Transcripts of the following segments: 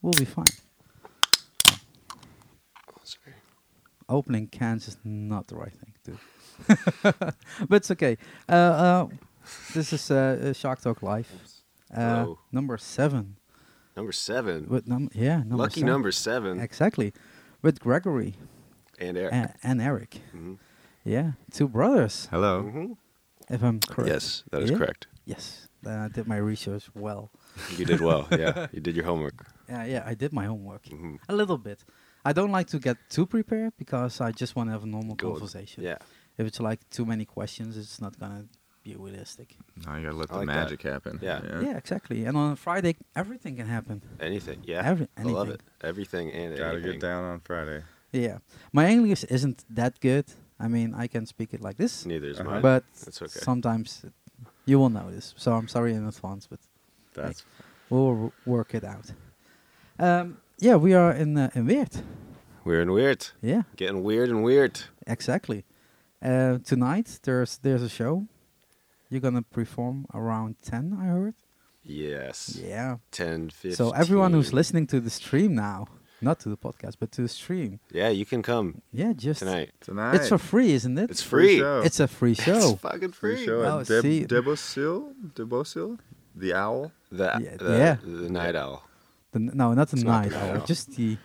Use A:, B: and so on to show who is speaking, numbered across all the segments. A: We'll be fine.
B: Sorry.
A: Opening cans is not the right thing, dude. but it's okay. Uh, uh, this is uh, uh, Shark Talk Live, uh,
B: Whoa.
A: number seven.
B: Number seven.
A: With num- yeah, number
B: Lucky
A: seven.
B: number seven.
A: Exactly, with Gregory
B: and Eric.
A: and, and Eric.
B: Mhm.
A: Yeah, two brothers.
C: Hello.
B: Mhm.
A: If I'm correct.
B: Yes, that is
A: Yeah?
B: correct.
A: Yes, then I did my research well.
B: You did well. yeah, you did your homework.
A: Yeah, yeah, I did my homework
B: Mhm.
A: a little bit. I don't like to get too prepared because I just want to have a normal
B: Good.
A: conversation.
B: Yeah.
A: If it's like too many questions, it's not gonna be realistic.
C: Now you gotta let
B: I
C: the
B: like that.
C: magic happen.
B: Yeah.
A: Yeah, exactly. And on a Friday, everything can happen.
B: Anything. Yeah.
A: Every-
B: I love
A: anything.
B: it. Everything and
C: Gotta
B: anything.
C: get down on Friday.
A: Yeah, my English isn't that good. I mean, I can speak it like this,
B: Neither is
C: Uh-huh.
B: mine.
A: but
B: That's okay.
A: sometimes it- you will notice. So I'm sorry in advance, but
C: That's
A: we'll w- work it out. Um, yeah, we are in uh, in Weert.
B: We're in weird.
A: Yeah,
B: Getting weird and weird.
A: exactly. Uh, tonight there's there's a show. You're gonna perform around ten, I heard.
B: Yes.
A: Yeah.
B: Ten fifteen.
A: So everyone who's listening to the stream now, not to the podcast, but to the stream,
B: Yeah, you can come
A: yeah, just
B: tonight.
C: tonight.
A: It's for free, isn't it?
B: It's
C: Free
B: free.
C: show.
A: It's a free show.
B: It's fucking
C: free
B: free.
C: show
A: Oh,
C: at Deb-
A: see.
C: Debosil, Debosil, the owl.
B: The,
A: Yeah,
B: the,
A: yeah.
B: the night owl.
A: The n- no, not the
B: It's not
A: night
B: the
A: owl,
B: night owl.
A: just the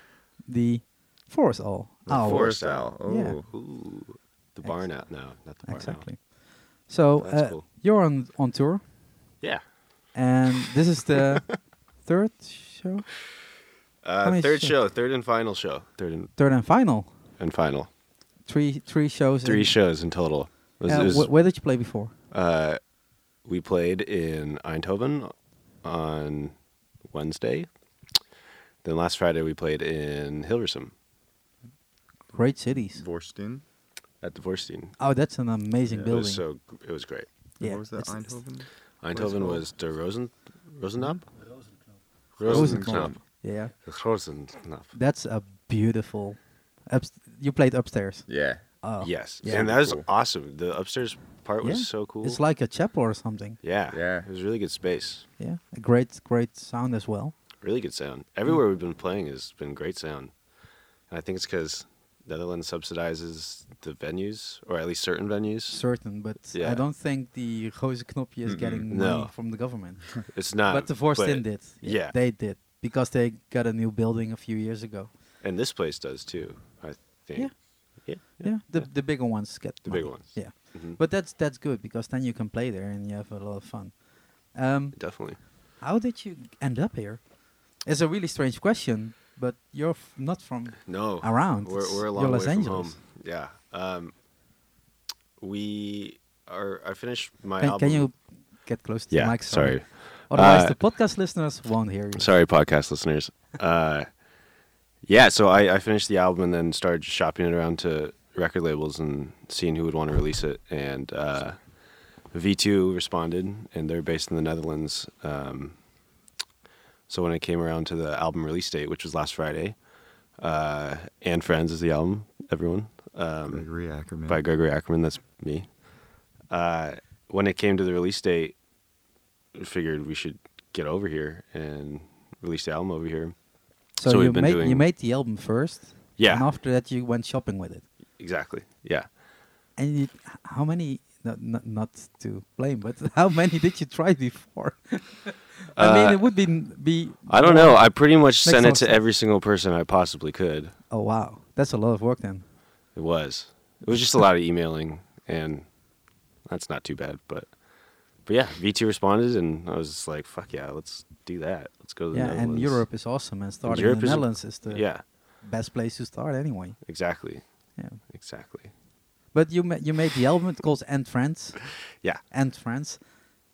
A: the forest owl.
C: The
A: Owl.
C: forest
B: owl.
C: owl. Oh,
A: Yeah.
B: Ooh. The barn owl. No, not the barn
A: exactly.
B: owl.
A: So
B: That's
A: uh,
B: cool.
A: you're on on tour,
B: Yeah.
A: and this is the third show, How
B: Uh,
A: many
B: third
A: shows?
B: show, third and final show. Third and,
A: third and final.
B: and final.
A: Three three shows.
B: Three
A: in-
B: shows in total. It was-
A: uh,
B: it was-
A: wh- where did you play before?
B: uh, we played in Eindhoven on Wednesday. Then last Friday we played in Hilversum
A: Great cities.
C: Vorsten.
B: at the Vorstein.
A: Oh, that's an amazing
C: Yeah,
B: It
A: building.
B: was so it was great.
A: yeah,
C: What was that?
A: it's- it's-
C: Eindhoven. it
B: Eindhoven
C: called?
B: was the Rosen Rosenknop.
A: Rosenknop.
B: Rosenknop.
A: Yeah,
B: Rosenknop.
A: that's a beautiful. Upst- you played upstairs.
C: Yeah.
A: Oh,
B: Yes,
A: Yeah.
B: and that was
C: Cool.
B: awesome. The upstairs part was
A: Yeah.
B: so cool.
A: It's like a chapel or something.
B: yeah,
C: Yeah.
B: it was really good space.
A: Yeah, a great, great sound as well.
B: Really good sound.
A: Hmm.
B: Everywhere we've been playing has been great sound. And I think it's because Netherlands subsidizes the venues, or at least certain venues.
A: Certain, but I
B: Yeah.
A: don't think the Roze Knopje is
C: Mm-mm.
A: getting
B: No.
A: money from the government.
B: it's not.
A: but the Vorstin
B: but-
A: did.
B: yeah.
A: they did because they got a new building a few years ago.
B: And this place does too, I think.
A: Yeah.
B: Yeah.
A: Yeah, the the bigger ones get
B: The bigger
A: money.
B: ones.
A: Yeah,
B: Mhm.
A: but that's that's good because then you can play there and you have a lot of fun. Um,
B: Definitely.
A: how did you end up here? It's a really strange question, but you're f- not from
B: No.
A: around.
B: We're,
A: It's- you're
B: we're a long way
A: Los
B: from
A: Angeles.
B: home. Yeah. Um, we are. I finished my
A: Can,
B: album.
A: can you get close to
B: Yeah.
A: the mic?
B: sorry.
A: Otherwise,
B: Uh,
A: the podcast listeners won't hear you.
B: Sorry, podcast listeners. Uh, yeah, so I, I finished the album and then started shopping it around to record labels and seeing who would want to release it. And uh, V2 responded, and they're based in the Netherlands. Um, so when it came around to the album release date, which was last Friday, uh, and Friends is the album, everyone, um,
C: Gregory Ackerman.
B: by Gregory Ackerman, that's me. Uh, when it came to the release date, we figured we should get over here and release the album over here.
A: So,
B: So we've
A: you
B: been
A: made you
B: doing-
A: made the album first.
B: Yeah.
A: And after that, you went shopping with it.
B: Exactly. Yeah.
A: And you, h- how many? Not, not not to blame, but how many did you try before? I mean,
B: Uh,
A: it would be n- be.
B: I don't know. I pretty much
A: Makes
B: sent
A: no
B: it to
A: sense.
B: every single person I possibly could.
A: Oh wow, that's a lot of work then.
B: It was. It was just a lot of emailing, and that's not too bad. But, but yeah, V2 responded, and I was just like, "Fuck yeah, let's do that. Let's go to the
A: yeah, and
B: Netherlands."
A: Europe is awesome, and starting
B: Europe
A: in the
B: is a-
A: Netherlands is the
B: Yeah.
A: best place to start anyway.
B: Exactly.
A: Yeah.
B: Exactly.
A: But you ma- you made the album. It's called End Friends.
B: Yeah.
A: End Friends.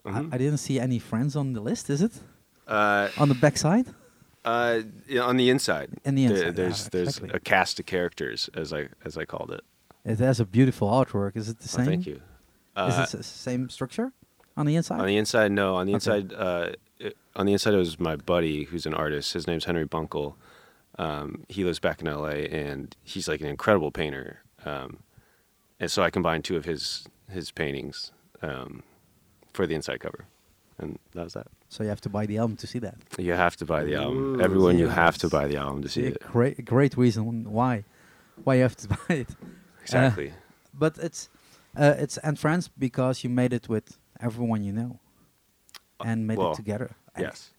B: Mhm.
A: I, I didn't see any friends on the list. Is it
B: Uh,
A: on the backside?
B: Uh, yeah, on the inside.
A: In the inside, yeah,
B: there's there's
A: exactly.
B: a cast of characters as I as I called it.
A: It has a beautiful artwork. Is it the
B: Oh,
A: same?
B: thank you.
A: Is
B: Uh,
A: it the same structure on the inside?
B: on the inside, no. On the
A: Okay.
B: inside, uh, it, on the inside, it was my buddy who's an artist. His name's Henry Bunkle. Um, he lives back in L.A. and he's like an incredible painter. Um, and so I combined two of his his paintings um, for the inside cover, and that was that.
A: So you have to buy the album to see that.
B: You have to buy the album.
C: Ooh,
B: Everyone, you
A: yes. Uh,
B: have to buy the album to see
A: Yeah,
B: it.
A: Great, great reason why, why you have to buy it.
B: Exactly.
A: But it's, uh, it's and France because you made it with everyone you know, and made
B: Uh, well,
A: it together. I-
B: yes.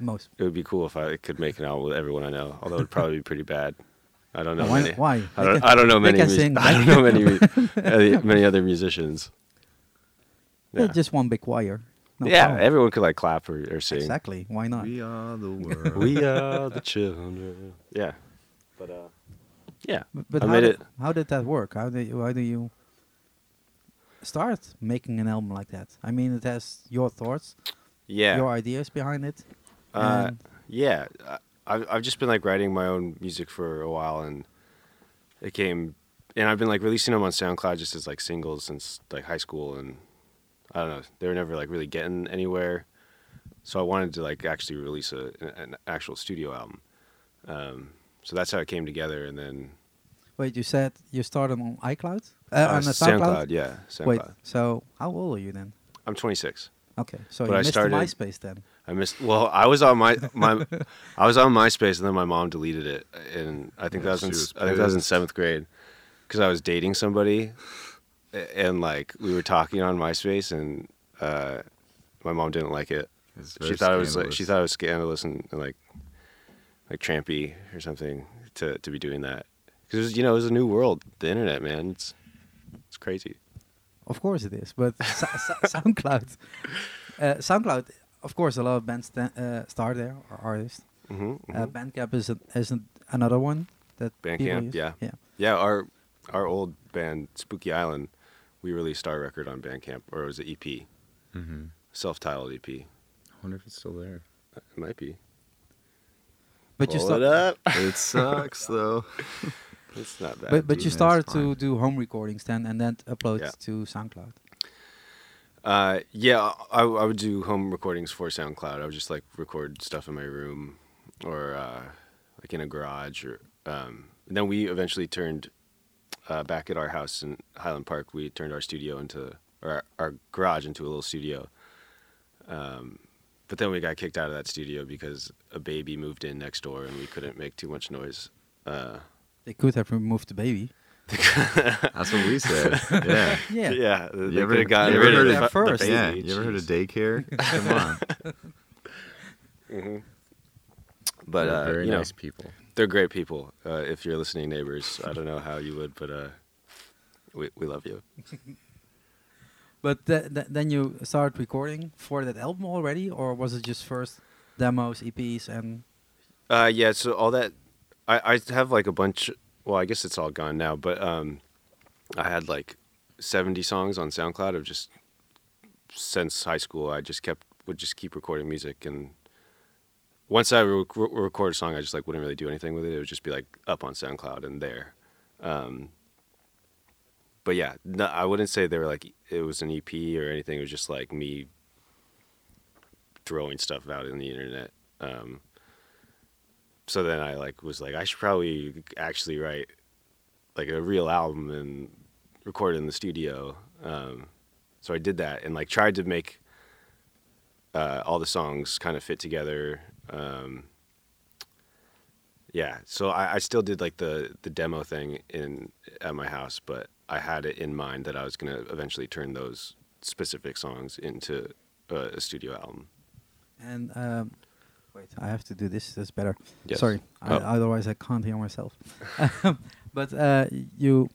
A: most.
B: It would be cool if I could make an album with everyone I know, although it would probably be pretty bad. I don't know.
A: why?
B: many-
A: why?
B: I
A: They
B: don't,
A: can-
B: I don't know
A: they
B: many.
A: can
B: mus-
A: sing, they
B: I don't know many mu- uh, many other musicians.
A: they're
B: Yeah,
A: Just one big choir. No
B: Yeah,
A: problem.
B: everyone could like clap or, or sing.
A: exactly. Why not?
C: We are the world.
B: We are the children. Yeah, but uh, yeah,
A: B- But
B: I
A: how
B: made
A: did,
B: it-
A: how did that work? How do you, how do you start making an album like that? I mean, it has your thoughts,
B: yeah.
A: your ideas behind it.
B: Uh,
A: and-
B: yeah, I- I've I've just been like writing my own music for a while, and it came, and I've been like releasing them on SoundCloud just as like singles since like high school, and I don't know, they were never like really getting anywhere, so I wanted to like actually release a, an- an actual studio album, um, so that's how it came together, and then
A: Wait, you said you started on iCloud? Uh,
B: uh,
A: on the SoundCloud?
B: yeah, SoundCloud.
A: Wait, so how old are you then?
B: I'm 26.
A: Okay, so
B: But
A: you
B: I
A: missed the
B: started-
A: MySpace then.
B: I missed. Well, I was on my my, I was on MySpace, and then my mom deleted it, and I think
C: Yeah,
B: that was, in,
C: she was
B: I think that was in
C: pissed.
B: seventh grade, because I was dating somebody, a- and like we were talking on MySpace, and uh, my mom didn't like it.
C: It's
B: She
C: very
B: thought it was like
C: scandalous.
B: she thought it was scandalous and, and like like trampy or something to to be doing that because you know it was a new world, the internet, man. It's it's crazy.
A: Of course it is, but Sa- Sa- SoundCloud, uh, SoundCloud, of course, a lot of bands sta- uh, start there or artists.
B: hmm
A: Uh, Bandcamp is an, is an, another one that people
B: Bandcamp,
A: use.
B: yeah.
A: yeah.
B: Yeah, our our old band Spooky Island, we released our record on Bandcamp, or it was an EP,
C: Mm-hmm.
B: self-titled EP. It
C: I wonder if it's still there.
B: might be.
A: But you
B: Pull
A: start,
B: it up.
C: It sucks though.
B: It's not bad.
A: but but you
C: That's
A: started
C: fine.
A: to do home recordings then, and then upload
B: Yeah.
A: to SoundCloud.
B: uh, yeah, I, I would do home recordings for SoundCloud. I would just like record stuff in my room, or uh, like in a garage, or um, and then we eventually turned uh, back at our house in Highland Park. We turned our studio into or our, our garage into a little studio. Um, But then we got kicked out of that studio because a baby moved in next door and we couldn't make too much noise. Uh,
A: They could have removed the baby.
C: That's what we said. Yeah.
A: Yeah.
B: they
C: You
B: they
C: ever-
B: could have gotten
C: you ever heard
B: rid of the,
C: of-
B: fu- the
A: First.
B: baby.
C: yeah. You ever heard of
B: jeez.
C: daycare? Come on.
B: But
C: They're
B: uh,
C: very
B: you know,
C: nice people.
B: they're great people. Uh, if you're listening, neighbors, I don't know how you would, but uh, we we love you.
A: But th- th- then you started recording for that album already, or was it just first demos, EPs, and
B: Uh, yeah, so all that I, I have like a bunch. Well, I guess it's all gone now, but um, I had like seventy songs on SoundCloud of just since high school. I just kept would just keep recording music, and once I re- re- record a song, I just like wouldn't really do anything with it. It would just be like up on SoundCloud and there. Um, but yeah, no, I wouldn't say they were like it was an EP or anything. It was just like me throwing stuff out in the internet. Um, so then I like was like I should probably actually write like a real album and record it in the studio. Um, so I did that and like tried to make uh, all the songs kind of fit together. Um, yeah, so I, I still did like the the demo thing in at my house, but I had it in mind that I was gonna eventually turn those specific songs into a, a studio album.
A: and um, wait, I have to do this. That's better.
B: Yes.
A: Sorry, I,
B: Oh.
A: otherwise I can't hear myself. but uh, you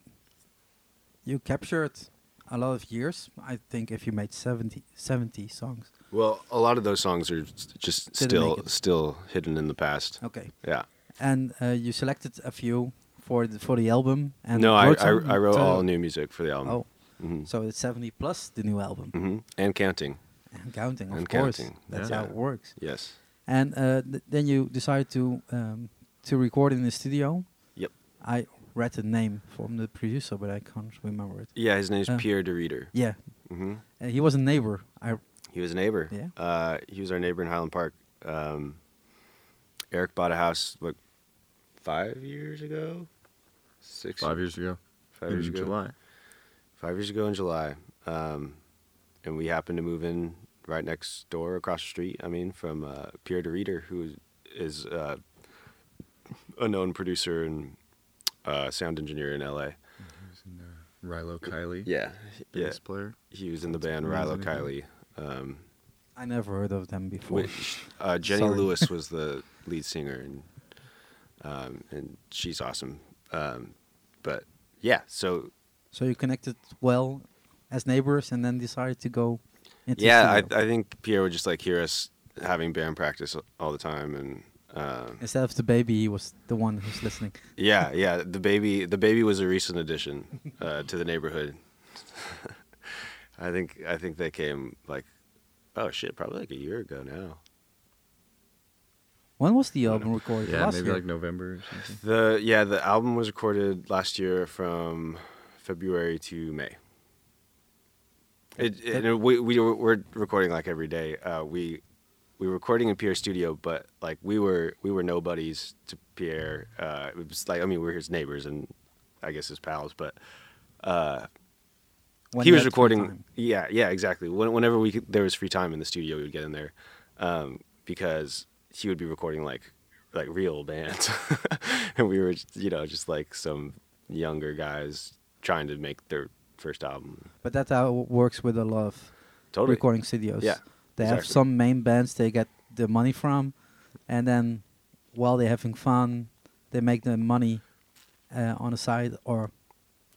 A: you captured a lot of years, I think, if you made 70, 70 songs.
B: Well, a lot of those songs are s- just
A: Didn't
B: still
A: make it.
B: still hidden in the past.
A: Okay,
B: Yeah.
A: and uh, you selected a few for the, for the album. And
B: no, I,
A: wrote
B: I,
A: some
B: I wrote
A: to-
B: all new music for the album.
A: Oh,
B: hmm
A: so it's seventy plus the new album
B: hmm And counting.
A: and counting, of
B: And
A: course.
B: counting,
A: That's
C: yeah.
A: how it works.
B: Yes.
A: And uh, th- then you decided to um, to record in the studio.
B: Yep.
A: I read the name from the producer, but I can't remember it.
B: Yeah, his name's
A: Uh,
B: Pierre de Reader.
A: Yeah,
B: hmm
A: uh, he was a neighbor. I
B: He was a neighbor.
A: Yeah.
B: Uh, he was our neighbor in Highland Park. Um, Eric bought a house like five years ago, six
C: Five years ago.
B: five years
C: in
B: ago,
C: July.
B: five years ago in July, um, and we happened to move in right next door, across the street. I mean, from uh, Pierre de Reader, who is uh, a known producer and uh, sound engineer in L.A.
D: Rilo Kiley.
B: Yeah, yeah.
C: Bass player.
B: He was in the band Rilo
D: amazing.
B: Kiley. Um,
A: I never heard of them before.
B: which uh, Jenny
A: Sorry.
B: Lewis was the lead singer, and um, and she's awesome. Um, but yeah, so
A: So you connected well as neighbors, and then decided to go. Into
B: yeah, I,
A: studio.
B: I think Pierre would just like hear us having band practice all the time, and um,
A: instead of the baby, he was the one who's listening.
B: yeah, yeah. The baby, the baby was a recent addition uh, to the neighborhood. I think I think they came like, oh shit, probably like a year ago now.
A: When was the album recorded?
D: Yeah,
A: Last
D: maybe
A: year?
D: like November or something.
B: The yeah, the album was recorded last year from February to May. It, it, and we we were we're recording like every day. Uh, we we were recording in Pierre's studio, but like we were we were nobodies to Pierre. Uh, it was like I mean we were his neighbors and I guess his pals, but
A: When
B: he
A: you
B: was
A: had free
B: recording.
A: time.
B: Yeah, yeah, exactly. When, whenever we could, there was free time in the studio, we would get in there um, because he would be recording like like real bands, and we were you know just like some younger guys trying to make their first album.
A: But that's how it works with a lot of
B: Totally.
A: recording studios.
B: Yeah,
A: They have
B: exactly.
A: some main bands they get the money from, and then while they're having fun, they make the money uh, on the side or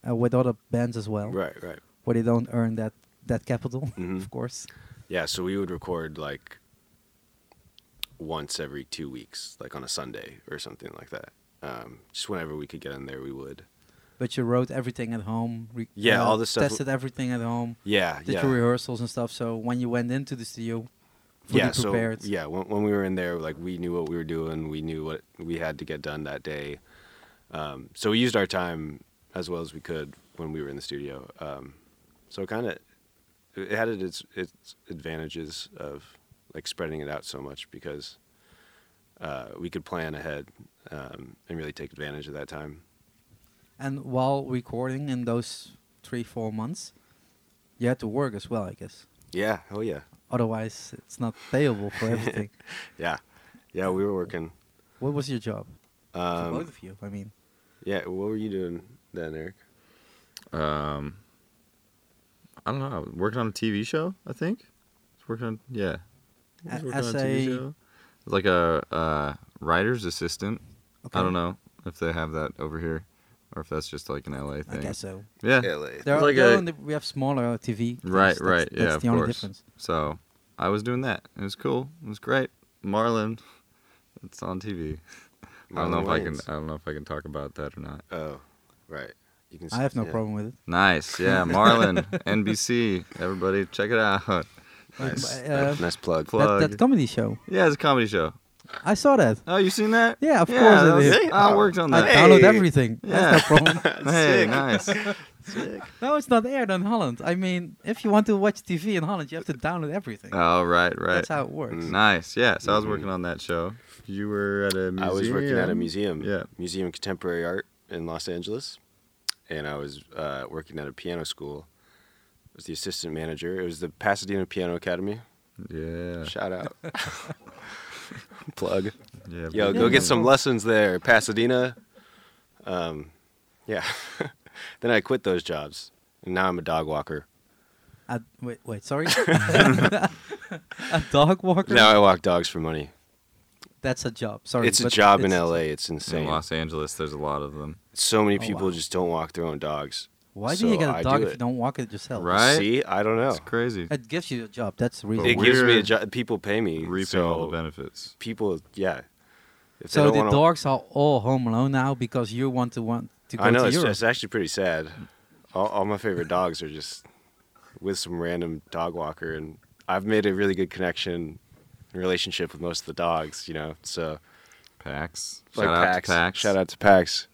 A: uh, with other bands as well,
B: Right, right.
A: where they don't earn that that capital,
B: Mhm.
A: of course.
B: Yeah, so we would record like once every two weeks, like on a Sunday or something like that. Um, just whenever we could get in there, we would.
A: But you wrote everything at home. Re- uh,
B: Yeah, all this stuff w-
A: Tested everything at home.
B: Yeah,
A: Did
B: yeah.
A: your rehearsals and stuff. So when you went into the studio, fully
B: yeah,
A: prepared.
B: So, yeah, when, when we were in there, like we knew what we were doing, we knew what we had to get done that day. Um, so we used our time as well as we could when we were in the studio. Um, so it kind of it had its its advantages of like spreading it out so much because uh, we could plan ahead um, and really take advantage of that time.
A: And while recording in those three, four months, you had to work as well, I guess.
B: Yeah. Oh yeah.
A: Otherwise, it's not payable for everything.
B: Yeah. Yeah. We were working.
A: what was your job? For both
B: Um,
A: of you, I mean.
B: yeah. What were you doing then, Eric?
D: Um, I don't know. I was working on a TV show, I think. I was working on yeah. I was
A: A-
D: working
A: as
D: on a TV
A: a-
D: show. Like a uh, writer's assistant.
A: Okay.
D: I don't know if they have that over here, or if that's just like an LA
A: I
D: thing.
A: guess so.
D: Yeah.
A: There are,
D: like
A: there are
D: a-
A: only, we have smaller TV. things.
D: Right.
A: That's-
D: right.
A: That's
D: yeah.
A: the
D: of
A: only
D: course.
A: difference.
D: So I was doing that. It was cool. It was great. Marlon, it's on TV. I don't know
B: Marlon
D: if
B: Wayans.
D: I can. I don't know if I can talk about that or not.
B: Oh, right. You can. s-
A: I have no
B: yeah.
A: problem with it.
D: Nice. Yeah. Marlon, NBC. Everybody, check it out.
A: Like,
B: Nice,
A: b- uh,
B: nice plug.
D: plug.
A: That, that comedy show.
D: Yeah, it's a comedy show.
A: I saw that.
D: Oh, you seen that?
A: Yeah, of course it
D: that was-
A: is.
D: I worked on
A: I
D: that.
A: downloaded
B: Hey.
A: everything. That's no problem.
D: Hey, nice.
A: no, it's not aired in Holland. I mean, if you want to watch TV in Holland, you have to download everything.
D: Oh, right, right. Mm.
A: That's how it works.
D: Nice. Yeah. So I was
B: Mhm.
D: working on that show. You were at a museum.
B: I was working at a museum,
D: Yeah.
B: Museum of Contemporary Art in Los Angeles, and I was uh, working at a piano school. I was the assistant manager. It was the Pasadena Piano Academy.
D: Yeah.
B: Shout out. plug.
D: Yeah.
B: Yo,
D: but-
B: go
A: Yeah.
B: get some lessons there, Pasadena. Um, yeah. then I quit those jobs, and now I'm a dog walker.
A: A, wait, wait, sorry. a dog walker.
B: Now I walk dogs for money.
A: That's a job. Sorry,
B: It's a
A: but
B: job in
A: it's-
B: LA. It's
D: In
B: insane.
D: Los Angeles, there's a lot of them.
B: So many
A: Oh,
B: people
A: wow.
B: just don't walk their own dogs.
A: Why
B: so
A: do you get
B: I
A: a dog
B: do
A: if you
B: it.
A: don't walk it yourself?
D: Right?
B: See, I don't know.
D: It's crazy.
A: It gives you a job. That's the reason.
D: But
B: It
A: why.
B: gives me
D: we're
B: a job. People pay me.
D: Reaping
B: so
D: all the benefits.
B: People, yeah. If they
A: So
B: don't
A: the
B: wanna-
A: dogs are all home alone now because you want to want to go
B: I know
A: to
B: it's,
A: Europe.
B: it's actually pretty sad. All, all my favorite dogs are just with some random dog walker, and I've made a really good connection and relationship with most of the dogs. You know, so
D: Pax.
B: like
D: Shout out
B: Pax.
D: to Pax.
B: Shout out to Pax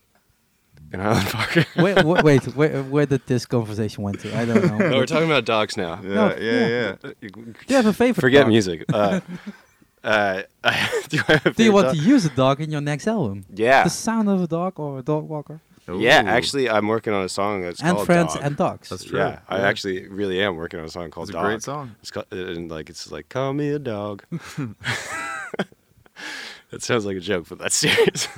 B: in Highland Park.
A: wait, wait, wait where, where did this conversation went to? I don't know.
B: no, we're talking about dogs now.
D: Yeah,
A: No,
D: yeah, yeah.
A: do you have a favorite?
B: Forget
A: dog?
B: music. Uh, uh, do I have a
A: Do
B: favorite
A: you want
B: dog?
A: to use a dog in your next album?
B: Yeah.
A: The sound of a dog or a dog walker?
B: Yeah,
D: Ooh.
B: actually, I'm working on a song that's
A: and
B: called
A: friends
B: Dog.
A: and dogs.
D: That's true.
B: Yeah, I
D: Yeah.
B: actually really am working on a song called
D: It's a
B: Dog.
D: great song.
B: It's called, and like it's like call me a dog. that sounds like a joke, but that's serious.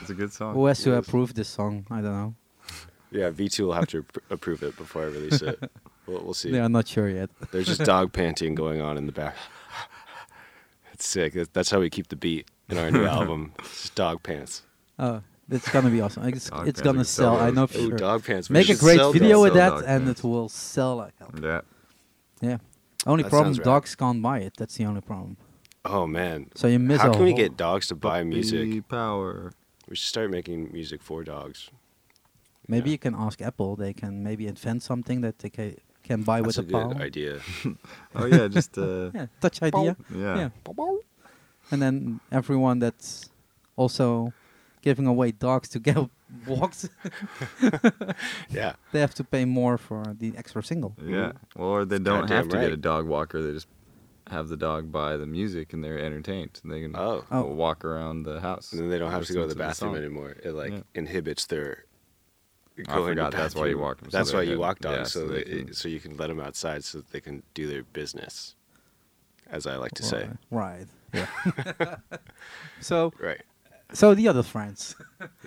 D: It's a good song.
A: Who has to
B: Yes.
A: approve this song? I don't know.
B: yeah, V2 will have to appro- approve it before I release it. We'll, we'll see.
A: They are not sure yet.
B: There's just dog panting going on in the back. It's sick. That- That's how we keep the beat in our new album. It's just dog pants.
A: Oh, it's gonna be awesome. It's,
D: Dog
A: it's
D: pants
A: gonna
D: are
A: sell. I
D: dope.
A: know for
B: Oh,
A: sure.
B: dog pants. We
A: Make a
B: should
A: great
B: sell
A: video
B: those.
A: with
D: Sell
A: that,
D: dog
A: and
D: pants.
A: it will sell like hell.
D: Yeah.
A: Yeah. Only
B: That
A: problem:
B: sounds rad.
A: dogs can't buy it. That's the only problem.
B: Oh man.
A: So you miss
B: How
A: a
B: can we
A: whole-
B: get dogs to buy music?
D: Puppy Power.
B: We should start making music for dogs.
A: Maybe
B: Yeah.
A: you can ask Apple. They can maybe invent something that they ca- can buy
B: That's a
A: with a
B: good
A: palm.
B: idea.
D: Oh yeah, just uh,
A: Yeah, touch idea.
D: yeah.
A: Yeah. And then everyone that's also giving away dogs to get walked,
B: Yeah.
A: they have to pay more for the extra single.
D: Yeah. Well, Mm-hmm. or they don't
B: Goddamn
D: have to
B: right.
D: get a dog walker. They just have the dog buy the music and they're entertained. And they can
B: Oh.
A: Oh.
D: walk around the house.
B: And then they don't have to go to
D: listen
B: the bathroom
D: song.
B: anymore. It like
D: Yeah.
B: inhibits their.
D: I
B: going to
D: forgot that's why you
B: bathroom.
D: walk 'em, so
B: That's
D: they
B: why
D: can-
B: you walk
D: yeah,
B: dogs, so
D: so they
B: that-
D: can-
B: so you can let them outside, so that they can do their business, as I like to say.
A: Right. Right. Yeah. so,
B: Right.
A: so the other friends,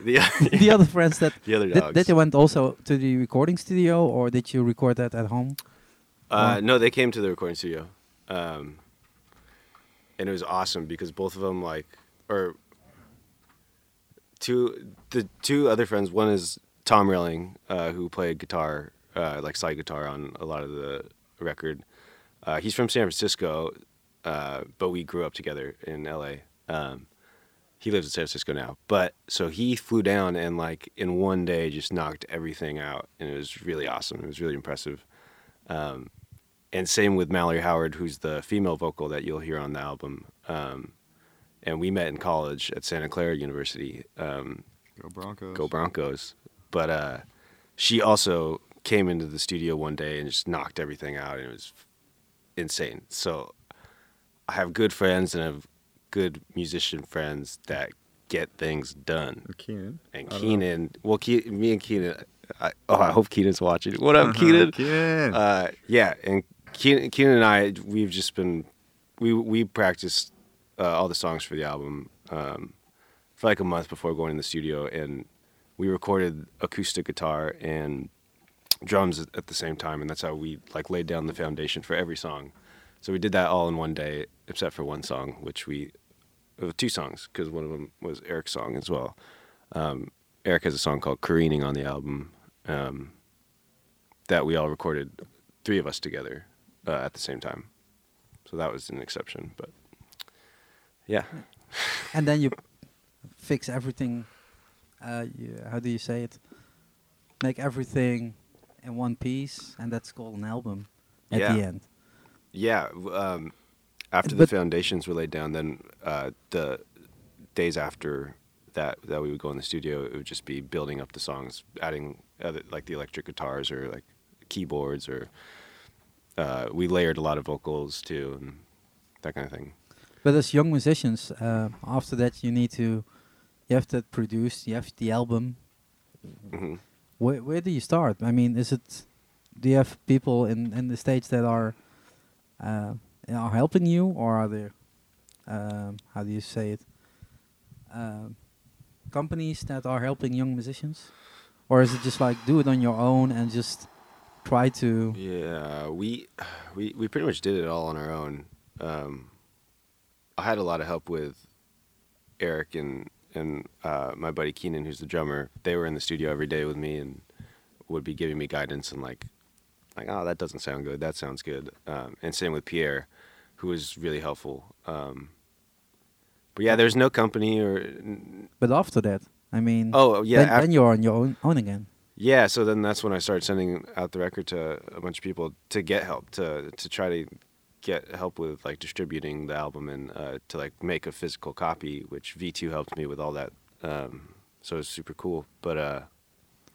B: The,
A: the other friends that
B: The other
A: did, did
B: dogs.
A: they went also to the recording studio, or did you record that at home?
B: uh, no, they came to the recording studio, um, and it was awesome because both of them like, or two, the two other friends. One is Tom Relling, uh, who played guitar, uh, like slide guitar on a lot of the record. Uh, he's from San Francisco, uh, but we grew up together in LA. Um, he lives in San Francisco now, but so he flew down and like in one day just knocked everything out, and it was really awesome. It was really impressive. Um, and same with Mallory Howard, who's the female vocal that you'll hear on the album. Um, and we met in college at Santa Clara University. Um,
D: Go Broncos.
B: go Broncos! But uh, she also came into the studio one day and just knocked everything out, and it was insane. So I have good friends and I have good musician friends that get things done.
D: Keenan.
B: And
D: I don't know.
B: Keenan, well, Ke- me and Keenan, I, oh, I hope Keenan's watching. What up,
D: Uh-huh.
B: Keenan?
D: Keenan.
B: Uh, yeah, and Keenan, Keenan and I, we've just been, we we practiced uh, all the songs for the album um, for like a month before going in the studio, and we recorded acoustic guitar and drums at- at the same time, and that's how we like laid down the foundation for every song. So we did that all in one day, except for one song, which we, uh, two songs, because one of them was Eric's song as well. Um, Eric has a song called "Careening" on the album. Um, that we all recorded three of us together uh, at the same time. So that was an exception, but yeah,
A: and then you fix everything. Uh, you, how do you say it? Make everything in one piece, and that's called an album at
B: Yeah.
A: the end.
B: yeah. w- Um, after
A: But-
B: the foundations were laid down, then uh, the days after that that we would go in the studio, it would just be building up the songs, adding other, like the electric guitars or like keyboards, or uh, we layered a lot of vocals too, and that kind of thing.
A: But as young musicians, uh, after that, you need to, you have to produce, you have the album.
B: hmm
A: Where where do you start? I mean, is it? Do you have people in in the states that are, uh, are helping you, or are there, um, how do you say it? Um companies that are helping young musicians, or is it just like do it on your own and just try to?
B: Yeah, we we we pretty much did it all on our own. Um, I had a lot of help with Eric and and uh, my buddy Keenan, who's the drummer. They were in the studio every day with me and would be giving me guidance and like like oh that doesn't sound good, that sounds good. Um, and same with Pierre, who was really helpful. Um, but yeah, there's no company or
A: But after that, I mean,
B: oh yeah.
A: then,
B: af-
A: then you're on your own, own again.
B: yeah, so then that's when I started sending out the record to a bunch of people to get help to to try to get help with like distributing the album and uh, to like make a physical copy, which V2 helped me with all that. Um, so it's super cool, but uh,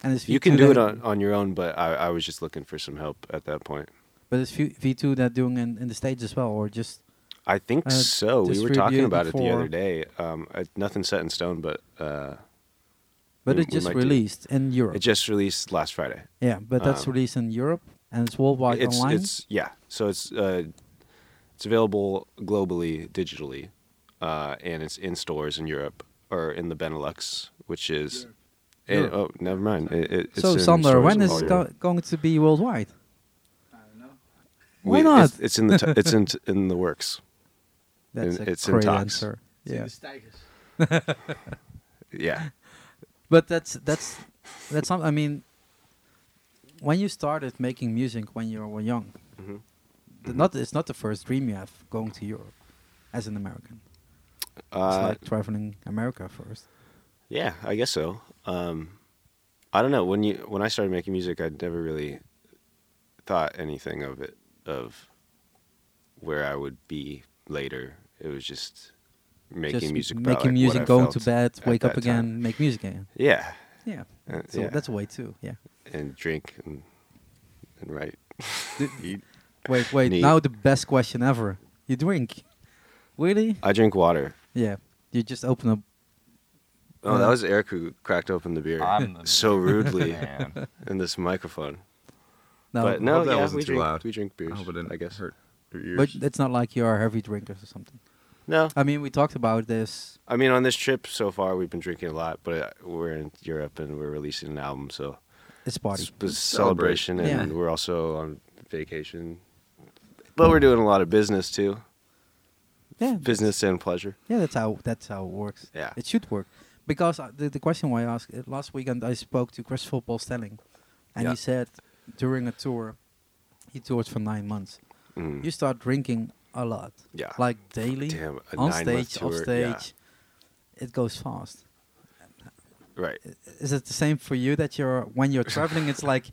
A: And it's
B: you can do it on, on your own. But I, I was just looking for some help at that point.
A: But is V two that doing in, in the states as well, or just
B: I think
A: Uh,
B: so. We were
A: distributed
B: talking about it the
A: for-
B: other day. Um, I, nothing set in stone, but uh,
A: But
B: we-
A: it
B: we
A: just
B: might do.
A: released in Europe.
B: It just released last Friday.
A: yeah, but that's
B: um,
A: released in Europe and it's worldwide
B: it's
A: online.
B: it's yeah. So it's uh, it's available globally digitally, uh, and it's in stores in Europe or in the Benelux, which is. eh,
A: Europe.
B: oh, never mind. It, it, it's
A: so
B: in
A: Sander,
B: stores
A: when
B: in
A: is
B: all
A: it
B: Europe.
A: go- going to be worldwide? Why
B: We-
A: not?
B: It's, it's in the t- it's in t- in the works.
A: That's
B: In-
A: a
B: it's in
A: great
B: talks.
A: answer. Yeah,
B: Yeah.
A: but that's that's that's some. I mean, when you started making music when you were young,
B: Mhm.
A: th- not it's not the first dream you have going to Europe as an American. It's
B: Uh,
A: like traveling America first.
B: Yeah, I guess so. Um, I don't know when you when I started making music, I never really thought anything of it of where I would be later. It was just making
A: Just
B: music, about,
A: making
B: like, what I
A: music, going to
B: felt
A: bed,
B: at
A: wake up
B: that time.
A: again, make music again.
B: Yeah,
A: Yeah,
B: Uh,
A: so
B: yeah.
A: that's a way too. Yeah.
B: and drink and and write.
A: Wait, wait.
B: Neat.
A: Now the best question ever. You drink? Really?
B: I drink water.
A: Yeah. You just open up.
B: Oh, that was Eric who cracked open the beer
D: I'm the
B: so rudely
D: man.
B: in this microphone.
A: No, Oh,
B: but
A: but,
B: no,
C: hope that
B: yeah,
C: wasn't
B: we
C: too
B: drink
C: loud.
B: we drink beers.
C: I hope it didn't.
B: I guess
C: hurt your ears.
A: it's not like you are heavy drinkers or something.
B: no.
A: I mean, we talked about this.
B: I mean, on this trip so far, we've been drinking a lot, but uh, we're in Europe and we're releasing an album, so
A: It's party.
B: it's a
C: Celebrate.
B: celebration, and
A: Yeah.
B: we're also on vacation. But we're doing a lot of business too,
A: Yeah.
B: business and pleasure.
A: Yeah, that's how that's how it works.
B: Yeah.
A: It should work because uh, the the question why I asked uh, last weekend I spoke to Christopher Paul Stelling, and
B: Yeah.
A: he said during a tour, he toured for nine months.
B: Mm.
A: You start drinking a lot.
B: Yeah.
A: Like daily.
B: Damn, a
A: on
B: nine-month
A: stage, off
B: tour,
A: stage.
B: yeah.
A: It goes fast.
B: Right.
A: is it the same for you that you're when you're traveling it's like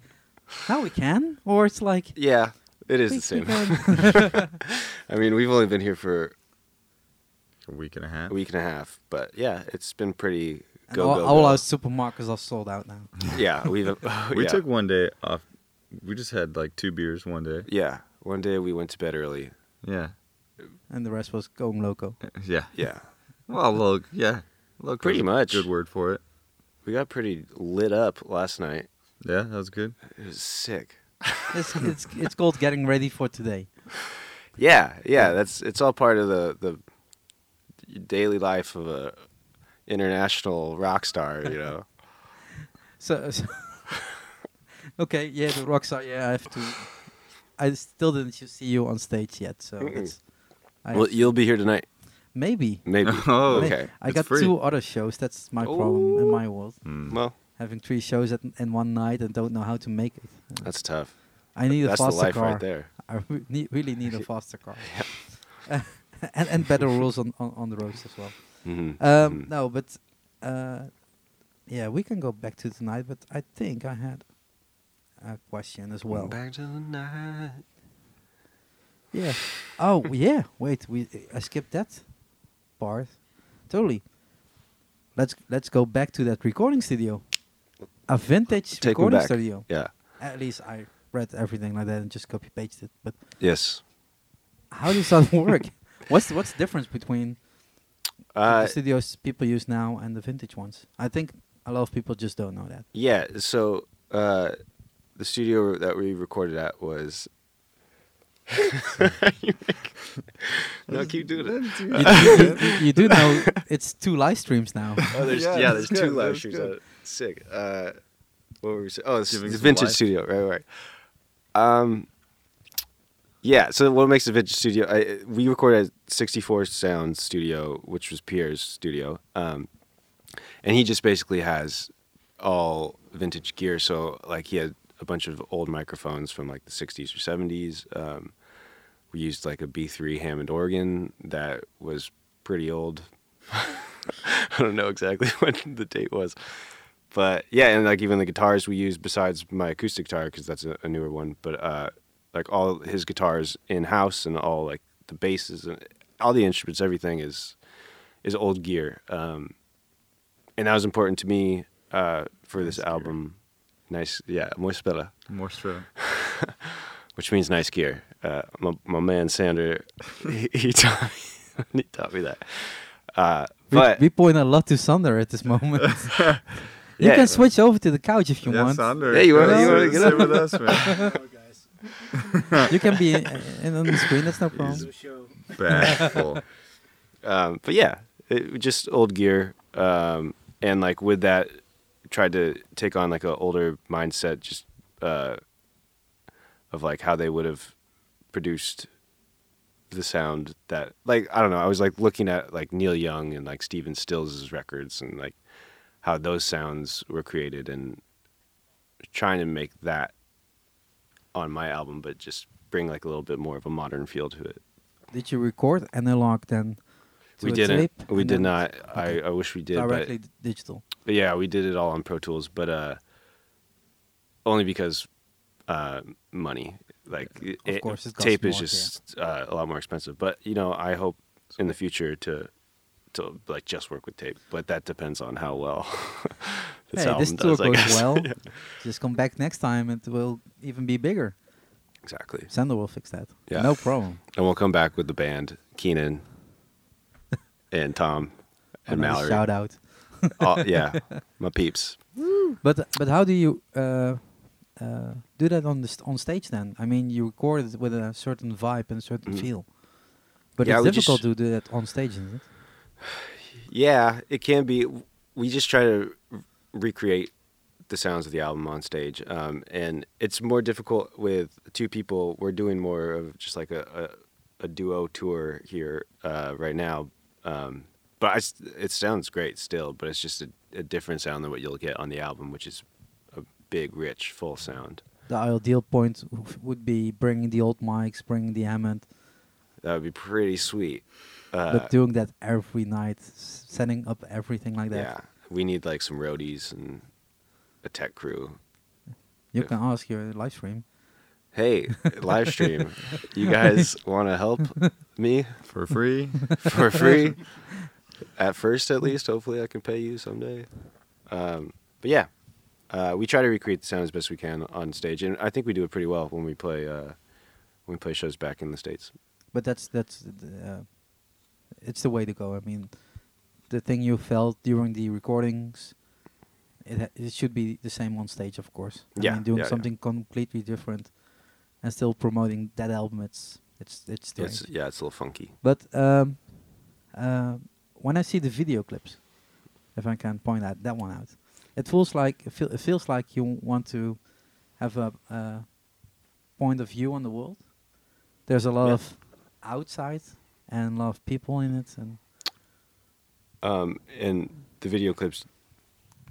A: now we can or it's like
B: Yeah, it is
A: "We-
B: the
A: we
B: same.
A: can."
B: I mean, we've only been here for
D: A week and a half.
B: a week and a half, but yeah, it's been pretty
A: And
B: go
A: all,
B: go.
A: all
B: go.
A: our supermarkets are sold out now
B: yeah, we've
D: We
B: oh, yeah.
D: took one day off. We just had like two beers one day.
B: yeah. One day we went to bed early.
D: Yeah.
A: and the rest was going loco
D: Yeah.
B: Yeah,
D: Well, look, yeah. Look,
B: Pretty
D: that's a
B: much.
D: Good word for it.
B: we got pretty lit up last night.
D: Yeah, that was good.
B: It was sick.
A: it's, it's, it's called getting ready for today
B: Yeah, yeah, that's it's all part of the the daily life of a international rock star, you know.
A: so, so- okay yeah the rocks are yeah i have to i still didn't ju- see you on stage yet so
B: Mm-mm.
A: it's I
B: well, you'll be here tonight,
A: maybe
B: maybe.
D: Oh,
A: May-
B: okay.
A: i
D: It's
A: got
D: free.
A: two other shows that's my problem in my world
B: Oh.
D: Mm.
B: Well,
A: having three shows at, in one night and don't know how to make it Uh,
B: that's tough.
A: i need a
B: That's the
A: faster
B: life
A: car
B: right there.
A: I re- need, really need a faster car. and, and better rules on, on, on the roads as well.
B: hmm
A: Um, no, but uh, yeah, we can go back to tonight, but I think I had a question as well.
B: back to the night.
A: Yeah. Oh, yeah. Wait, we I skipped that part. Totally. Let's let's go back to that recording studio. A vintage
B: Take me
A: recording
B: back.
A: studio.
B: Yeah.
A: At least I read everything like that and just copy pasted it. But
B: Yes.
A: how does that work? What's the, what's the difference between
B: Uh,
A: the studios people use now and the vintage ones? I think a lot of people just don't know that.
B: yeah. So uh, the studio that we recorded at was. no, keep doing it.
A: You, you- you- you do know it's two live streams now.
B: Oh, there's yeah,
D: Yeah,
B: there's
D: that's
B: two
D: good,
B: live
D: that's
B: streams.
D: good.
B: on it. Sick. Uh, what were we saying? Oh, it's,
D: Giving
B: it's
D: some
B: vintage
D: life.
B: studio, right, right. Um, yeah. So what makes a vintage studio? I, we recorded at 64 Sound Studio, which was Pierre's studio, um, and he just basically has all vintage gear. So like he had a bunch of old microphones from like the 60s or 70s. Um, we used like a B3 Hammond organ that was pretty old. I don't know exactly when the date was. But yeah, and like even the guitars we used besides my acoustic guitar because that's a, a newer one, but uh, like all his guitars in house and all like the basses and all the instruments, everything is is old gear. Um, and that was important to me uh, for this
D: Nice gear.
B: album. Nice, yeah, Moispella
D: More so.
B: which means nice gear. Uh, my, my man Sander, he, he taught me, he taught me that. Uh,
A: We,
B: but
A: we point a lot to Sander at this moment. You
B: Yeah.
A: can switch over to the couch if you want.
D: Sander.
B: Hey, you
A: wanna-
D: come
A: you wanna
D: sit-
A: get
D: sit
B: up?
D: with us, man?
A: you can be in, in on the screen. That's no problem.
D: Bashful.
B: um, but yeah, it, just old gear, um, and like with that, tried to take on like an older mindset, just uh, of like how they would have produced the sound that like I don't know. I was like looking at like Neil Young and like Steven Stills' records and like how those sounds were created and trying to make that on my album, but just bring like a little bit more of a modern feel to it.
A: Did you record analog then? to
B: we
A: a
B: didn't.
A: tape
B: we
A: and
B: did
A: then
B: not.
A: okay.
B: I, I wish we did, but,
A: Directly d- digital.
B: but yeah, we did it all on Pro Tools, but uh, only because uh, money. Like
A: Of
B: it-
A: course, it costs
B: tape is
A: more, yeah.
B: just uh, a lot more expensive. But you know, I hope in the future to to like just work with tape, but that depends on how well this
A: hey,
B: album
A: this tour
B: does. I
A: goes
B: guess.
A: well. Just come back next time, and it will even be bigger.
B: exactly,
A: Sander will fix that.
B: Yeah.
A: No problem.
B: and we'll come back with the band, Keenan and Tom and
A: Another
B: Mallory.
A: Shout out.
B: Oh, yeah, my peeps.
A: But but how do you uh, uh, do that on the st- on stage then? I mean, you record it with a certain vibe and a certain
B: Mhm.
A: feel. But
B: Yeah,
A: it's
B: we just-
A: difficult to do that on stage, isn't it?
B: Yeah, it can be. We just try to r- recreate the sounds of the album on stage, um, and it's more difficult with two people. We're doing more of just like a a, a duo tour here uh, right now, um, but I s it sounds great still. But it's just a, a different sound than what you'll get on the album, which is a big, rich, full sound.
A: The ideal point w- would be bringing the old mics, bringing the Hammond,
B: That would be pretty sweet. Uh,
A: but doing that every night, s- setting up everything like that.
B: Yeah, we need like some roadies and a tech crew.
A: You
B: If-
A: can ask your live stream.
B: hey, live stream, you guys want to help me
D: For free.
B: for free? At first, at least. Hopefully, I can pay you someday. Um, but yeah, uh, we try to recreate the sound as best we can on stage, and I think we do it pretty well when we play uh, when we play shows back in the states.
A: But that's that's the, uh, it's the way to go. I mean, the thing you felt during the recordings, it ha- it should be the same on stage, of course. I
B: Yeah,
A: mean, doing
B: yeah, yeah.
A: something completely different and still promoting that album. It's it's it's strange.
B: It's, yeah, it's a little funky.
A: But um, uh, when I see the video clips, if I can point out that one out, it feels like it, feel, it feels like you want to have a uh, point of view on the world. There's a lot
B: Yeah.
A: of outside and a lot of people in it, and
B: Um, and the video clips.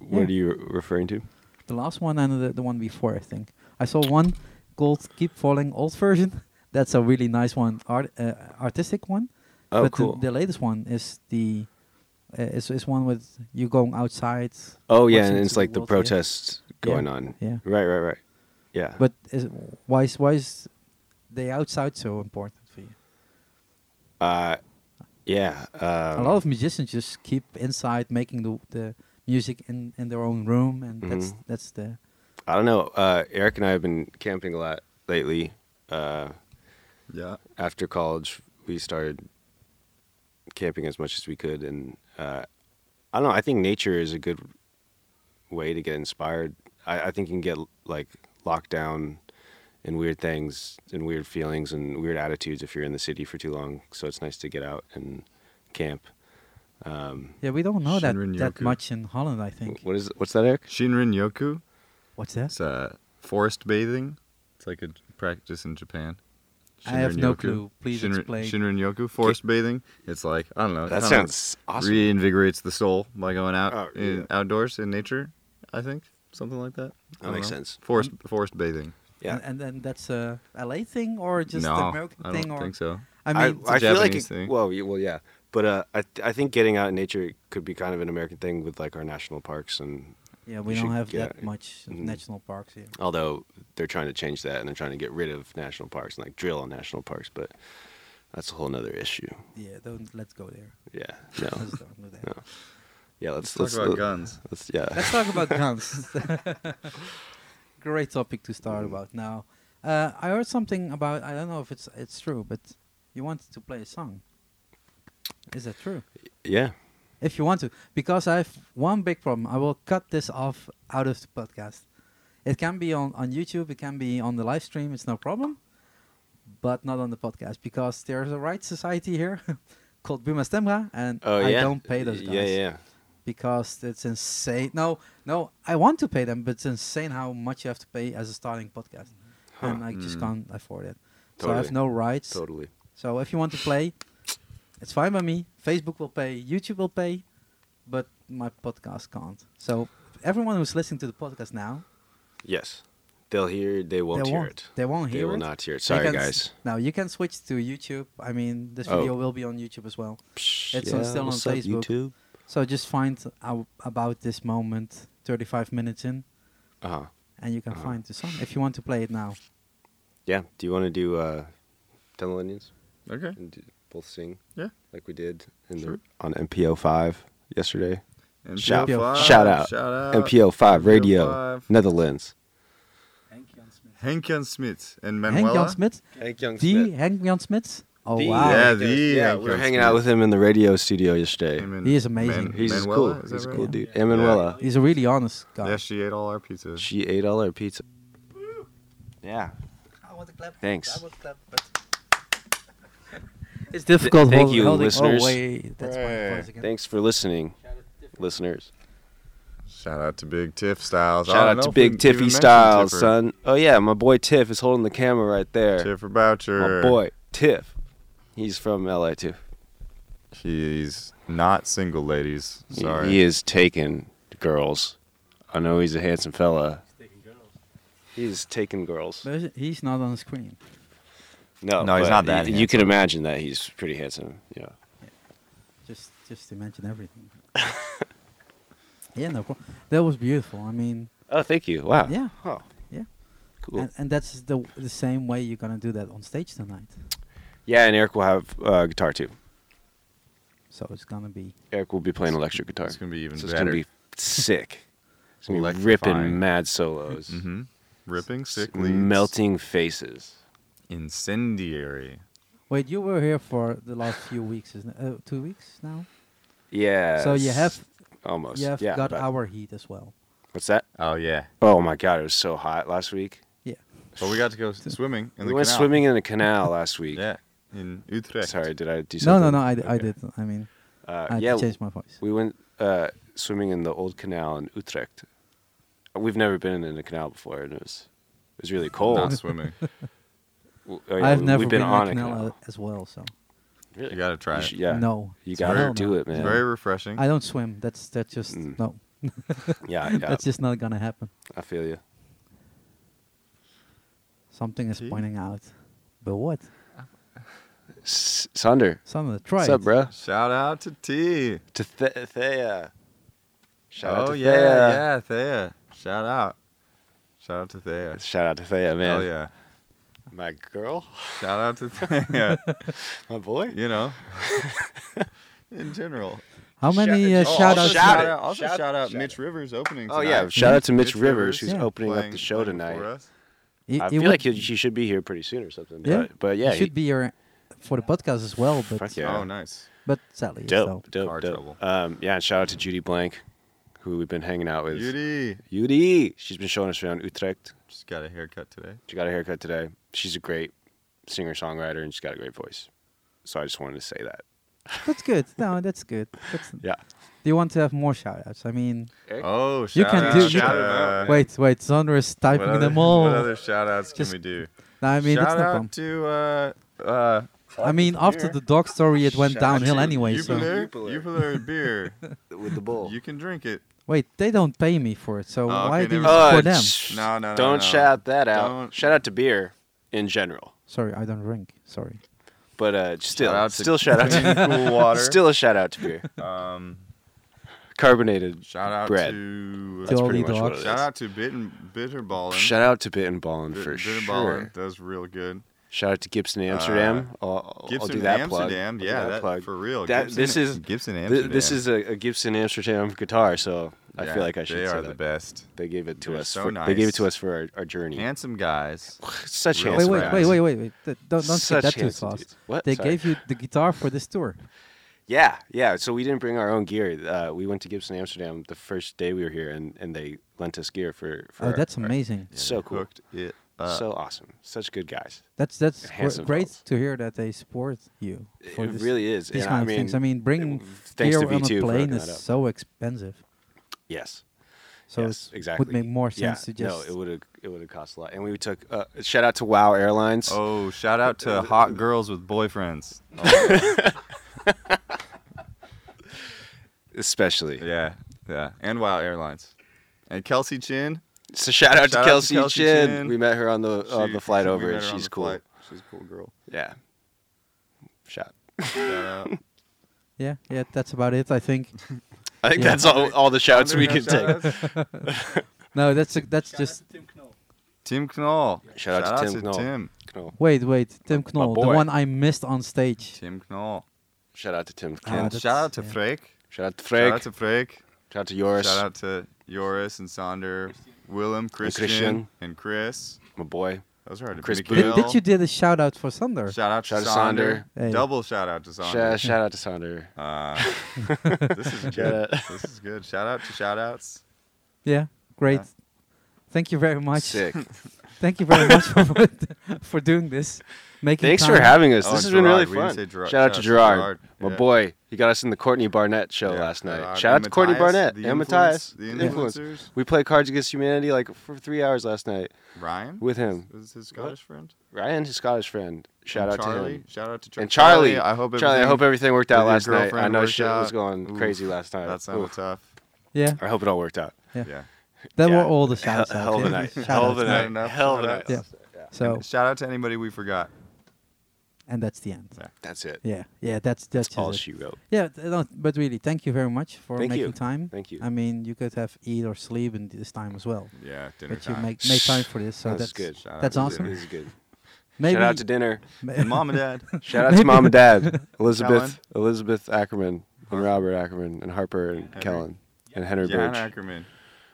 B: What
A: Yeah.
B: are you re- referring to?
A: the last one and the, the one before, I think. I saw one called "Keep Falling" old version. That's a really nice one, art uh, artistic one.
B: Oh,
A: but the-
B: cool.
A: The, latest one is the uh, is is one with you going outside.
B: oh, yeah,
A: watching
B: and
A: to
B: it's like the
A: world here.
B: protests going on.
A: Yeah.
B: Right, right, right. Yeah.
A: But is, why is why is the outside so important for you?
B: Uh, yeah. Um,
A: a lot of musicians just keep inside making the the music in in their own room, and that's
B: Mhm.
A: that's the
B: I don't know. Uh, Eric and I have been camping a lot lately. Uh,
D: Yeah.
B: after college, we started camping as much as we could, and uh, I don't know. I think nature is a good way to get inspired. I, I think you can get like locked down in weird things and weird feelings and weird attitudes if you're in the city for too long. So it's nice to get out and camp. Um,
A: yeah. We don't know that
D: Shinrin
A: that
D: Yoku.
A: much in Holland, I think.
B: what is what's that, Eric?
D: Shinrin Yoku.
A: What's that?
D: It's uh, forest bathing. It's like a j- practice in Japan.
A: I have no
D: Shinrin-yoku.
A: clue. Please
D: Shinrin,
A: explain.
D: Shinrin Yoku, forest bathing. It's like, I don't know.
B: That
D: kinda
B: sounds awesome.
D: Reinvigorates the soul by going out
B: Oh,
D: in,
B: yeah.
D: outdoors in nature, I think. Something like that. I don't
B: makes
D: know.
B: sense.
D: Forest forest bathing.
B: Yeah.
A: And, and then that's a LA thing or just
D: no,
A: an American
D: I don't
A: thing or
D: think so.
A: I
B: I,
A: mean
B: I feel like
D: Japanese
B: it,
D: thing.
B: well, y- well, yeah, but uh, I th- I think getting out in nature could be kind of an American thing with like our national parks, and
A: yeah, we
B: you
A: don't
B: should
A: have
B: get-
A: that much
B: Mhm.
A: national parks here.
B: although they're trying to change that and they're trying to get rid of national parks and like drill on national parks, but that's a whole nother issue.
A: Yeah, don't let's go there.
B: Yeah, no,
A: Let's don't do that.
B: no, yeah.
D: Let's
B: Let's
D: talk
B: let's,
D: about
B: let-
D: guns.
B: let's- yeah.
A: Let's talk about guns. Great topic to start about now. Uh, I heard something about I don't know if it's it's true, but you wanted to play a song. Is that true?
B: Yeah,
A: if you want to, because I have one big problem. I will cut this off out of the podcast. It can be on on YouTube. It can be on the live stream. It's no problem, but not on the podcast because there's a right society here called Buma Stemra, and
B: Oh
A: I
B: yeah.
A: don't pay those guys
B: Yeah, yeah.
A: because it's insane. No, no, I want to pay them, but it's insane how much you have to pay as a starting podcast,
B: Huh. Hmm.
A: and I just
D: Mm.
A: can't afford it. So I have
B: Totally.
A: no rights.
B: Totally.
A: So if you want to play, it's fine by me. Facebook will pay, YouTube will pay, but my podcast can't. So everyone who's listening to the podcast now,
B: Yes. They'll hear. They won't
A: they
B: hear
A: won't.
B: it.
A: They won't hear
B: They will
A: it.
B: not hear it.
A: They
B: Sorry,
A: can s-
B: guys.
A: now you can switch to YouTube. I mean, this
B: Oh.
A: video will be on YouTube as well. It's on- still on
B: what's up,
A: Facebook.
B: YouTube.
A: So just find out about this moment, 35 minutes in,
B: Uh huh.
A: and you can
B: Uh-huh.
A: find the song if you want to play it now.
B: Yeah. Do you want to do uh, Tell the Onions
D: Okay.
B: and do, both sing?
D: Yeah.
B: Like we did in the,
D: Sure.
B: on MPO five yesterday.
D: MPO
B: Shout-
D: five,
B: shout out.
D: Shout out.
B: MPO five radio
D: five.
B: Netherlands.
D: Henk Jan Smit and
A: Hank
D: Manuela.
A: Jan Smit,
B: Hank Young
A: the Hank Jan Smit. Oh
B: The-
A: wow,
D: Yeah, the
B: Yeah,
D: Hank
B: we were
D: Jan
B: hanging
D: Smit.
B: out with him in the radio studio yesterday.
D: Him and
A: He is amazing.
B: He's
D: Manuela,
B: cool. He's
D: is that
B: a
D: right?
B: cool dude. Emanuela.
A: he's a really honest guy.
D: Yeah, she ate all our pizza.
B: She ate all our pizza. Yeah.
A: I want to clap.
B: Thanks.
A: I want to clap, but it's difficult.
B: thank
A: hol-
B: you,
A: holding-
B: listeners.
A: Oh, wait, that's my
D: Right.
A: voice again.
B: Thanks for listening, listeners.
D: Shout out to Big Tiff Styles. I
B: Shout
D: don't
B: out
D: know
B: to
D: if we
B: Big
D: even
B: Tiffy
D: mentioned
B: Styles,
D: Tiffer.
B: son. Oh yeah, my boy Tiff is holding the camera right there.
D: Tiff
B: My
D: Boucher.
B: boy Tiff. He's from LA too.
D: He's not single, ladies.
B: He-
D: Sorry.
B: He, is taking girls. I know he's a handsome fella. He's taking girls.
A: But is- he's not on the screen.
B: No,
D: No, he's
B: but
D: not that
B: You, you can imagine that he's pretty handsome. Yeah.
A: Just, just imagine everything. yeah, no problem. That was beautiful. I mean,
B: Oh, thank you. Wow.
A: Yeah.
B: Oh.
A: Yeah.
B: Cool.
A: and, and that's the the same way you're gonna do that on stage tonight.
B: yeah, and Eric will have uh, guitar too.
A: So it's gonna be.
B: Eric will be playing electric guitar.
D: It's gonna be even
B: so It's
D: better.
B: gonna be sick. It's gonna be
D: Electrifying.
B: ripping mad solos,
D: hmm Ripping,
B: S-
D: sick leads.
B: melting faces.
D: Incendiary.
A: Wait, you were here for the last few weeks, isn't it? Uh, two weeks now.
B: Yeah.
A: So you have
B: almost.
A: you have
B: yeah,
A: got
B: but-
A: our heat as well.
B: What's that?
D: Oh, yeah.
B: Oh my god, it was so hot last week.
A: Yeah.
D: But we got to go swimming in
B: we
D: the
B: went
D: canal.
B: swimming in a canal last week.
D: Yeah. In Utrecht.
B: Sorry, did I do
A: No,
B: something?
A: no, no. I, d- I
B: Okay.
A: did. I mean,
B: Uh,
A: I had
B: yeah,
A: to change my voice.
B: we went uh, swimming in the old canal in Utrecht. We've never been in a canal before, and it was it was really cold.
D: Not swimming.
B: W- oh, yeah,
A: I've
B: we-
A: never
B: we've
A: been,
B: been,
A: in
B: on
A: a canal,
B: canal.
A: a- as well, so
B: Really?
D: You got to try
B: You
D: it.
B: should- yeah.
A: no.
B: You
A: It's
B: gotta
A: hell no.
B: do it,
A: It's
B: man.
D: It's very refreshing.
A: I don't swim. That's that's just
B: Mm.
A: no.
B: Yeah, yeah.
A: That's just not gonna happen.
B: I feel you.
A: Something is
D: See?
A: pointing out, but what?
B: S- Sunder,
A: Something. Try
B: what's up,
A: it.
B: bro?
D: Shout out to T.
B: To Th- Thea. Shout out
D: oh
B: to
D: yeah,
B: Thea.
D: yeah, Thea. Shout out. Shout out to Thea.
B: Shout out to Thea, man.
D: Hell yeah.
B: My girl,
D: Shout out to Thea.
B: my boy.
D: you know. In general.
A: How many uh,
B: Shout-
D: Oh,
A: shout
D: also
A: outs?
B: shout
D: shout
B: it.
D: out, also
B: Shout-
D: shout, out
B: shout
D: Mitch Rivers opening.
B: Oh
D: tonight.
B: yeah, shout out to Mitch,
D: Mitch
B: Rivers,
D: Rivers,
B: who's
A: yeah.
B: opening up
D: Playing-
B: the show
D: playing
B: tonight.
D: for us.
A: It-
B: I
A: it
B: feel
A: would-
B: like he, she should be here pretty soon or something.
A: Yeah.
B: But, but yeah,
A: it should be here for the podcast as well, but
B: Fuck yeah.
D: Oh nice.
A: but sadly, it's
B: dope,
A: no.
B: dope,
D: Car
B: dope.
D: trouble.
B: Um, yeah, and shout out to Judy Blank, who we've been hanging out with.
D: Yudi
B: Judy, she's been showing us around Utrecht.
D: just got a haircut today.
B: She got a haircut today. She's a great singer songwriter and she's got a great voice. So I just wanted to say that.
A: that's good. No, that's good. That's,
B: Yeah.
A: Do you want to have more shout outs? I mean,
D: Oh, shout
A: You can
D: out
A: do-
D: to-
A: you-
B: Shout 'em out, man.
A: wait, wait. Sandra is
D: What
A: typing
D: other,
A: them all.
D: What other shout outs can
A: Just-
D: we do?
A: No, I mean,
D: shout
A: that's no
D: out
A: problem.
D: to uh uh
A: I mean, after
B: here.
A: the dog story, it went
B: Shout out
A: downhill
B: to
A: anyway.
B: you,
A: So
B: Blue. Jupiler.
D: Jupiler, Jupiler beer.
B: With the bull.
D: You can drink it.
A: wait, they don't pay me for it. So
D: Oh,
A: why
D: okay,
A: do you
D: never mind.
A: for them?
B: Uh, sh-
D: No, no, no,
B: Don't
D: no.
B: shout that out.
D: Don't-
B: Shout out to beer in general.
A: Sorry, I don't drink. Sorry.
B: But uh, still,
D: Shout out to
B: still shout out to
D: clean, cool water.
B: Still a shout out to beer.
D: um,
B: Carbonated.
D: shout out
B: bread.
D: to uh,
A: To
B: That's
A: all
B: pretty
A: the
B: much what
A: dogs.
B: it
D: shout
B: is.
D: out to Bitten Bitterballin.
B: Shout out to Bit and Ballin
D: Bit-
B: for sure.
D: Bitterballin does real good.
B: Shout out to Gibson Amsterdam. I'll- I'll, I'll
D: Uh, Gibson
B: do that
D: Amsterdam,
B: plug. I'll do
D: yeah,
B: that
D: that,
B: plug.
D: for real.
B: That-
D: Gibson,
B: this is
D: Gibson
B: Th-
D: Amsterdam.
B: this is a, a Gibson Amsterdam guitar, so I
D: Yeah,
B: feel like I should
D: They
B: say
D: are
B: that.
D: the best.
B: They gave it to
D: They're
B: us.
D: so
B: for, They gave it
D: nice.
B: to us for our, our journey.
D: Handsome guys.
B: Such
D: Wait,
A: Wait,
B: handsome
A: wait,
D: right.
A: wait,
B: guys.
A: wait, wait. Th- Don't don't skip
B: Such
A: that too
B: handsome
A: fast.
B: dudes. What?
A: They
B: Sorry.
A: gave you the guitar for this tour. Oh,
B: Yeah, yeah. So we didn't bring our own gear. Uh, we went to Gibson Amsterdam the first day we were here, and, and they lent us gear for. for
A: Oh,
B: our-
A: that's
B: our-
A: amazing.
B: So cool.
C: Hooked it up.
B: so awesome. Such good guys.
A: That's that's gr-
B: Handsome
A: great
B: fellas.
A: to hear that they support you. for
B: it
A: this-
B: really is.
A: These
B: and
A: kind
B: I
A: of
B: mean, uh,
A: things. I mean, bringing
B: thanks
A: gear
B: to
A: on
B: V2
A: a
B: for
A: plane
B: hooking that
A: is
B: up.
A: so expensive.
B: yes.
A: So
B: yes,
A: it's-
B: exactly.
A: would make more
B: Yeah,
A: sense to just
B: no. It would have. It would have cost a lot. And we took. Uh, shout out to Wow Airlines.
D: Oh, shout out to hot girls with boyfriends.
B: Oh, Especially.
D: Yeah, yeah, and Wow Airlines, and Kelsey Chin.
B: So shout out
D: Shout out
B: to
D: to
B: Kelsey,
D: Kelsey
B: Chin.
D: Chin.
B: We met her on the on
D: She-
B: the flight
D: we
B: over,
D: met
B: and
D: her on
B: she's
D: the
B: cool.
D: flight. She's a cool girl.
B: Yeah. Shout.
D: Shout out.
A: yeah yeah that's about it. I think
B: I think
A: Yeah.
B: that's all, all the shouts we can take.
A: no that's a, that's just
D: Tim Knoll.
B: Shout out to Tim Knoll.
D: Tim.
B: Cool.
A: wait wait Tim Knoll the
B: boy.
A: one I missed on stage.
D: Tim Knoll.
B: Shout out to Tim.
A: Ah,
B: Kent.
D: And
A: that's-
D: shout out to
A: yeah.
D: Freek.
B: Shout out to Frank.
D: Shout out to Freek.
B: Shout out to Joris,
D: Shout out to Joris and Sonder, Willem, Christian,
B: Christian.
D: and Chris.
B: my boy.
D: Those are hard to
B: Chris
A: Did,
B: Booth.
A: did
D: Mikhail.
A: you did a shout out for Sander?
D: Shout out to
B: Shout out to
D: Sonder.
B: Sonder.
A: Hey.
D: Double shout out to Sonder.
B: Shout, shout out to Sonder.
D: Uh, this is good.
B: Shout out.
D: This is good. Shout out to shout outs.
A: yeah great.
D: Yeah.
A: Thank you very much.
B: Sick.
A: Thank you very much for for doing this. Making
B: Thanks for
A: time.
B: having us.
D: Oh,
B: this has
D: and
B: been really
D: Gerard. We didn't
B: fun.
D: say Gerard.
B: Shout out to Gerard, my
D: yeah.
B: boy. He got us in the Courtney Barnett show last night.
D: Uh,
B: Shout out to Courtney
D: Matthias,
B: Barnett
D: the
B: and Matthias.
D: influence- The
B: Influence.
D: influencers.
B: We played Cards Against Humanity like for three hours last night.
D: Ryan?
B: With him.
D: Was his Scottish friend?
B: Ryan, his Scottish friend. Shout
D: And
B: out
D: Charlie.
B: to him.
D: Shout out to Char-
B: And Charlie,
D: I hope
B: Charlie, I
D: everything
B: hope everything worked out
D: with your
B: last night. I
D: girlfriend
B: know
D: worked
B: shit was
D: out.
B: going
D: Oof,
B: crazy last night.
D: That sounded
B: Oof.
D: tough.
A: Yeah,
B: I hope it all worked out.
A: Yeah.
D: Yeah.
A: that
B: Yeah.
A: were all the
B: Hell,
A: shout outs.
B: hell of a night.
A: Shout
B: Hell of
A: outs.
B: a
D: Not
B: night.
D: enough
B: Hell of a
D: shout
B: night.
A: outs.
B: Yeah.
A: So
D: Shout out to anybody we forgot.
A: and that's the end.
D: Yeah.
B: That's it.
A: Yeah, yeah, that's that's just
B: All
A: it.
B: she wrote.
A: Yeah, th- no, but really, thank you very much for
B: Thank
A: making
B: you.
A: time.
B: Thank you.
A: I mean, you could have eat or sleep in this time as well,
D: Yeah, dinner
A: but you
D: time.
A: make make time for this. So
B: That's
A: that's
B: good. Shout
D: out
A: That's
D: to
A: awesome.
D: dinner.
B: This is good.
A: Maybe
B: Shout out to dinner.
A: ma-
D: And mom and dad.
B: Shout out to mom and dad,
D: Kellen.
B: Elizabeth, Elizabeth Ackerman, and Robert Ackerman, and Harper and
D: Henry.
B: Kellen, and Henry
D: John
B: Birch,
D: Ackerman.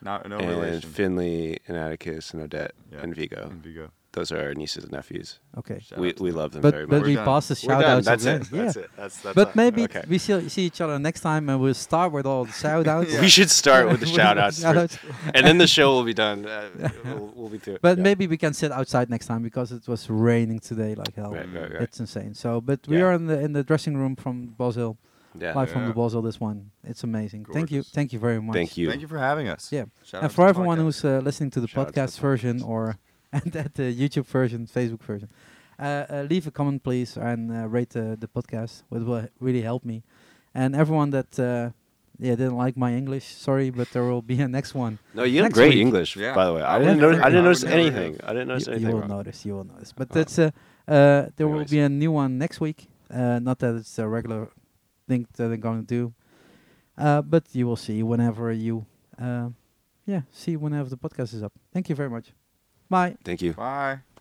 D: Not no
B: and
D: relation.
B: Finley, and Atticus, and Odette,
D: Yeah.
B: and Vigo.
D: And Vigo.
B: Those are our nieces and nephews.
A: okay,
D: Shout
B: We
D: out to
B: we love them very
A: but but
B: much.
A: we
D: done.
A: pass the
B: We're
A: shout
B: done.
A: outs.
B: That's
A: again.
B: it.
A: Yeah.
B: That's it. That's that's.
A: But
B: all.
A: maybe
B: Okay.
A: we see, see each other next time, and we'll start with all the shout outs.
B: we should start with the shout outs,
A: Shout-outs.
B: and then the show will be done. Uh, we'll, we'll be through. it.
A: But
B: Yeah.
A: maybe we can sit outside next time because it was raining today like hell.
B: Right, right, right.
A: It's insane. So, but we
B: Yeah.
A: are in the in the dressing room from Bosel,
B: Yeah.
A: live from the
D: Yeah.
A: Bosel. This one, it's amazing. Thank you,
D: Gorgeous.
A: thank you very much.
B: Thank you.
D: Thank you for having us.
A: Yeah.
D: Shout out
A: and
D: to
A: for
D: the
A: everyone
D: podcast.
A: who's uh, listening to the
B: Shout out to the
A: podcast version or and at the YouTube version, Facebook version, uh, uh, leave a comment please and uh, rate the, the podcast. It will really help me. And everyone that uh, yeah didn't like my English, sorry, but there will be a next one.
B: No, you have
A: Next
B: great
A: week.
B: English,
D: Yeah.
B: by the way. I
D: I
B: didn't
A: would
B: notice.
A: never-
B: I didn't
A: I would
B: notice
D: never have.
B: anything. I didn't notice
A: you, you
B: anything.
A: will
B: wrong.
A: notice. You will notice. But
B: Oh.
A: that's uh, uh, there will
B: Anyways.
A: be a new one next week. Uh, not that it's a regular thing that I'm going to do, uh, but you will see whenever you, uh, yeah, see whenever the podcast is up. Thank you very much. Bye.
B: Thank you.
D: Bye.